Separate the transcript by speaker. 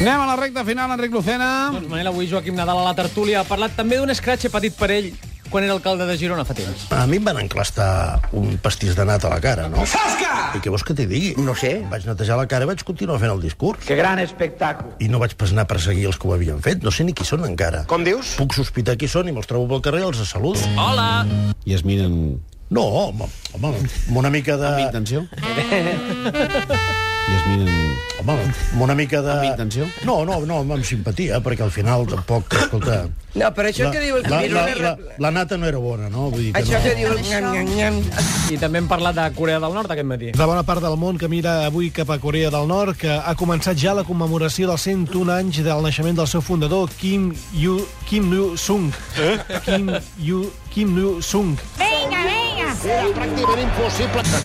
Speaker 1: Anem a la recta final, Enric Lucena.
Speaker 2: Doncs Manel, avui Joaquim Nadal a la tertúlia ha parlat també d'un escratxe petit per ell quan era alcalde de Girona fa temps.
Speaker 3: A mi em van enclastar un pastís de nata a la cara, no?
Speaker 4: Zasca!
Speaker 3: I què vols que t'hi digui?
Speaker 4: No sé.
Speaker 3: Em Vaig netejar la cara i vaig continuar fent el discurs.
Speaker 4: Que gran espectacle.
Speaker 3: I no vaig pas anar a perseguir els que ho havien fet. No sé ni qui són encara.
Speaker 4: Com dius?
Speaker 3: Puc sospitar qui són i me'ls trobo pel carrer i els saludo.
Speaker 2: Hola!
Speaker 1: I es miren...
Speaker 3: No, home, home amb una mica de...
Speaker 1: Amb intenció. I es miren...
Speaker 3: Home, amb una mica de...
Speaker 1: Amb intenció?
Speaker 3: No, no, no, amb simpatia, perquè al final tampoc, escolta...
Speaker 5: No, però això que diu el
Speaker 3: la, la,
Speaker 5: Quirino...
Speaker 3: la, la nata no era bona, no? Vull dir que
Speaker 5: Això
Speaker 3: no.
Speaker 5: que diu el nyam, nyam, nyam.
Speaker 2: I també hem parlat de Corea del Nord aquest matí.
Speaker 6: De bona part del món que mira avui cap a Corea del Nord, que ha començat ja la commemoració dels 101 anys del naixement del seu fundador, Kim Yu... Kim Yu Sung. Eh? Kim Yu... Kim Yu Sung.
Speaker 7: Venga, venga.
Speaker 3: Era pràcticament impossible.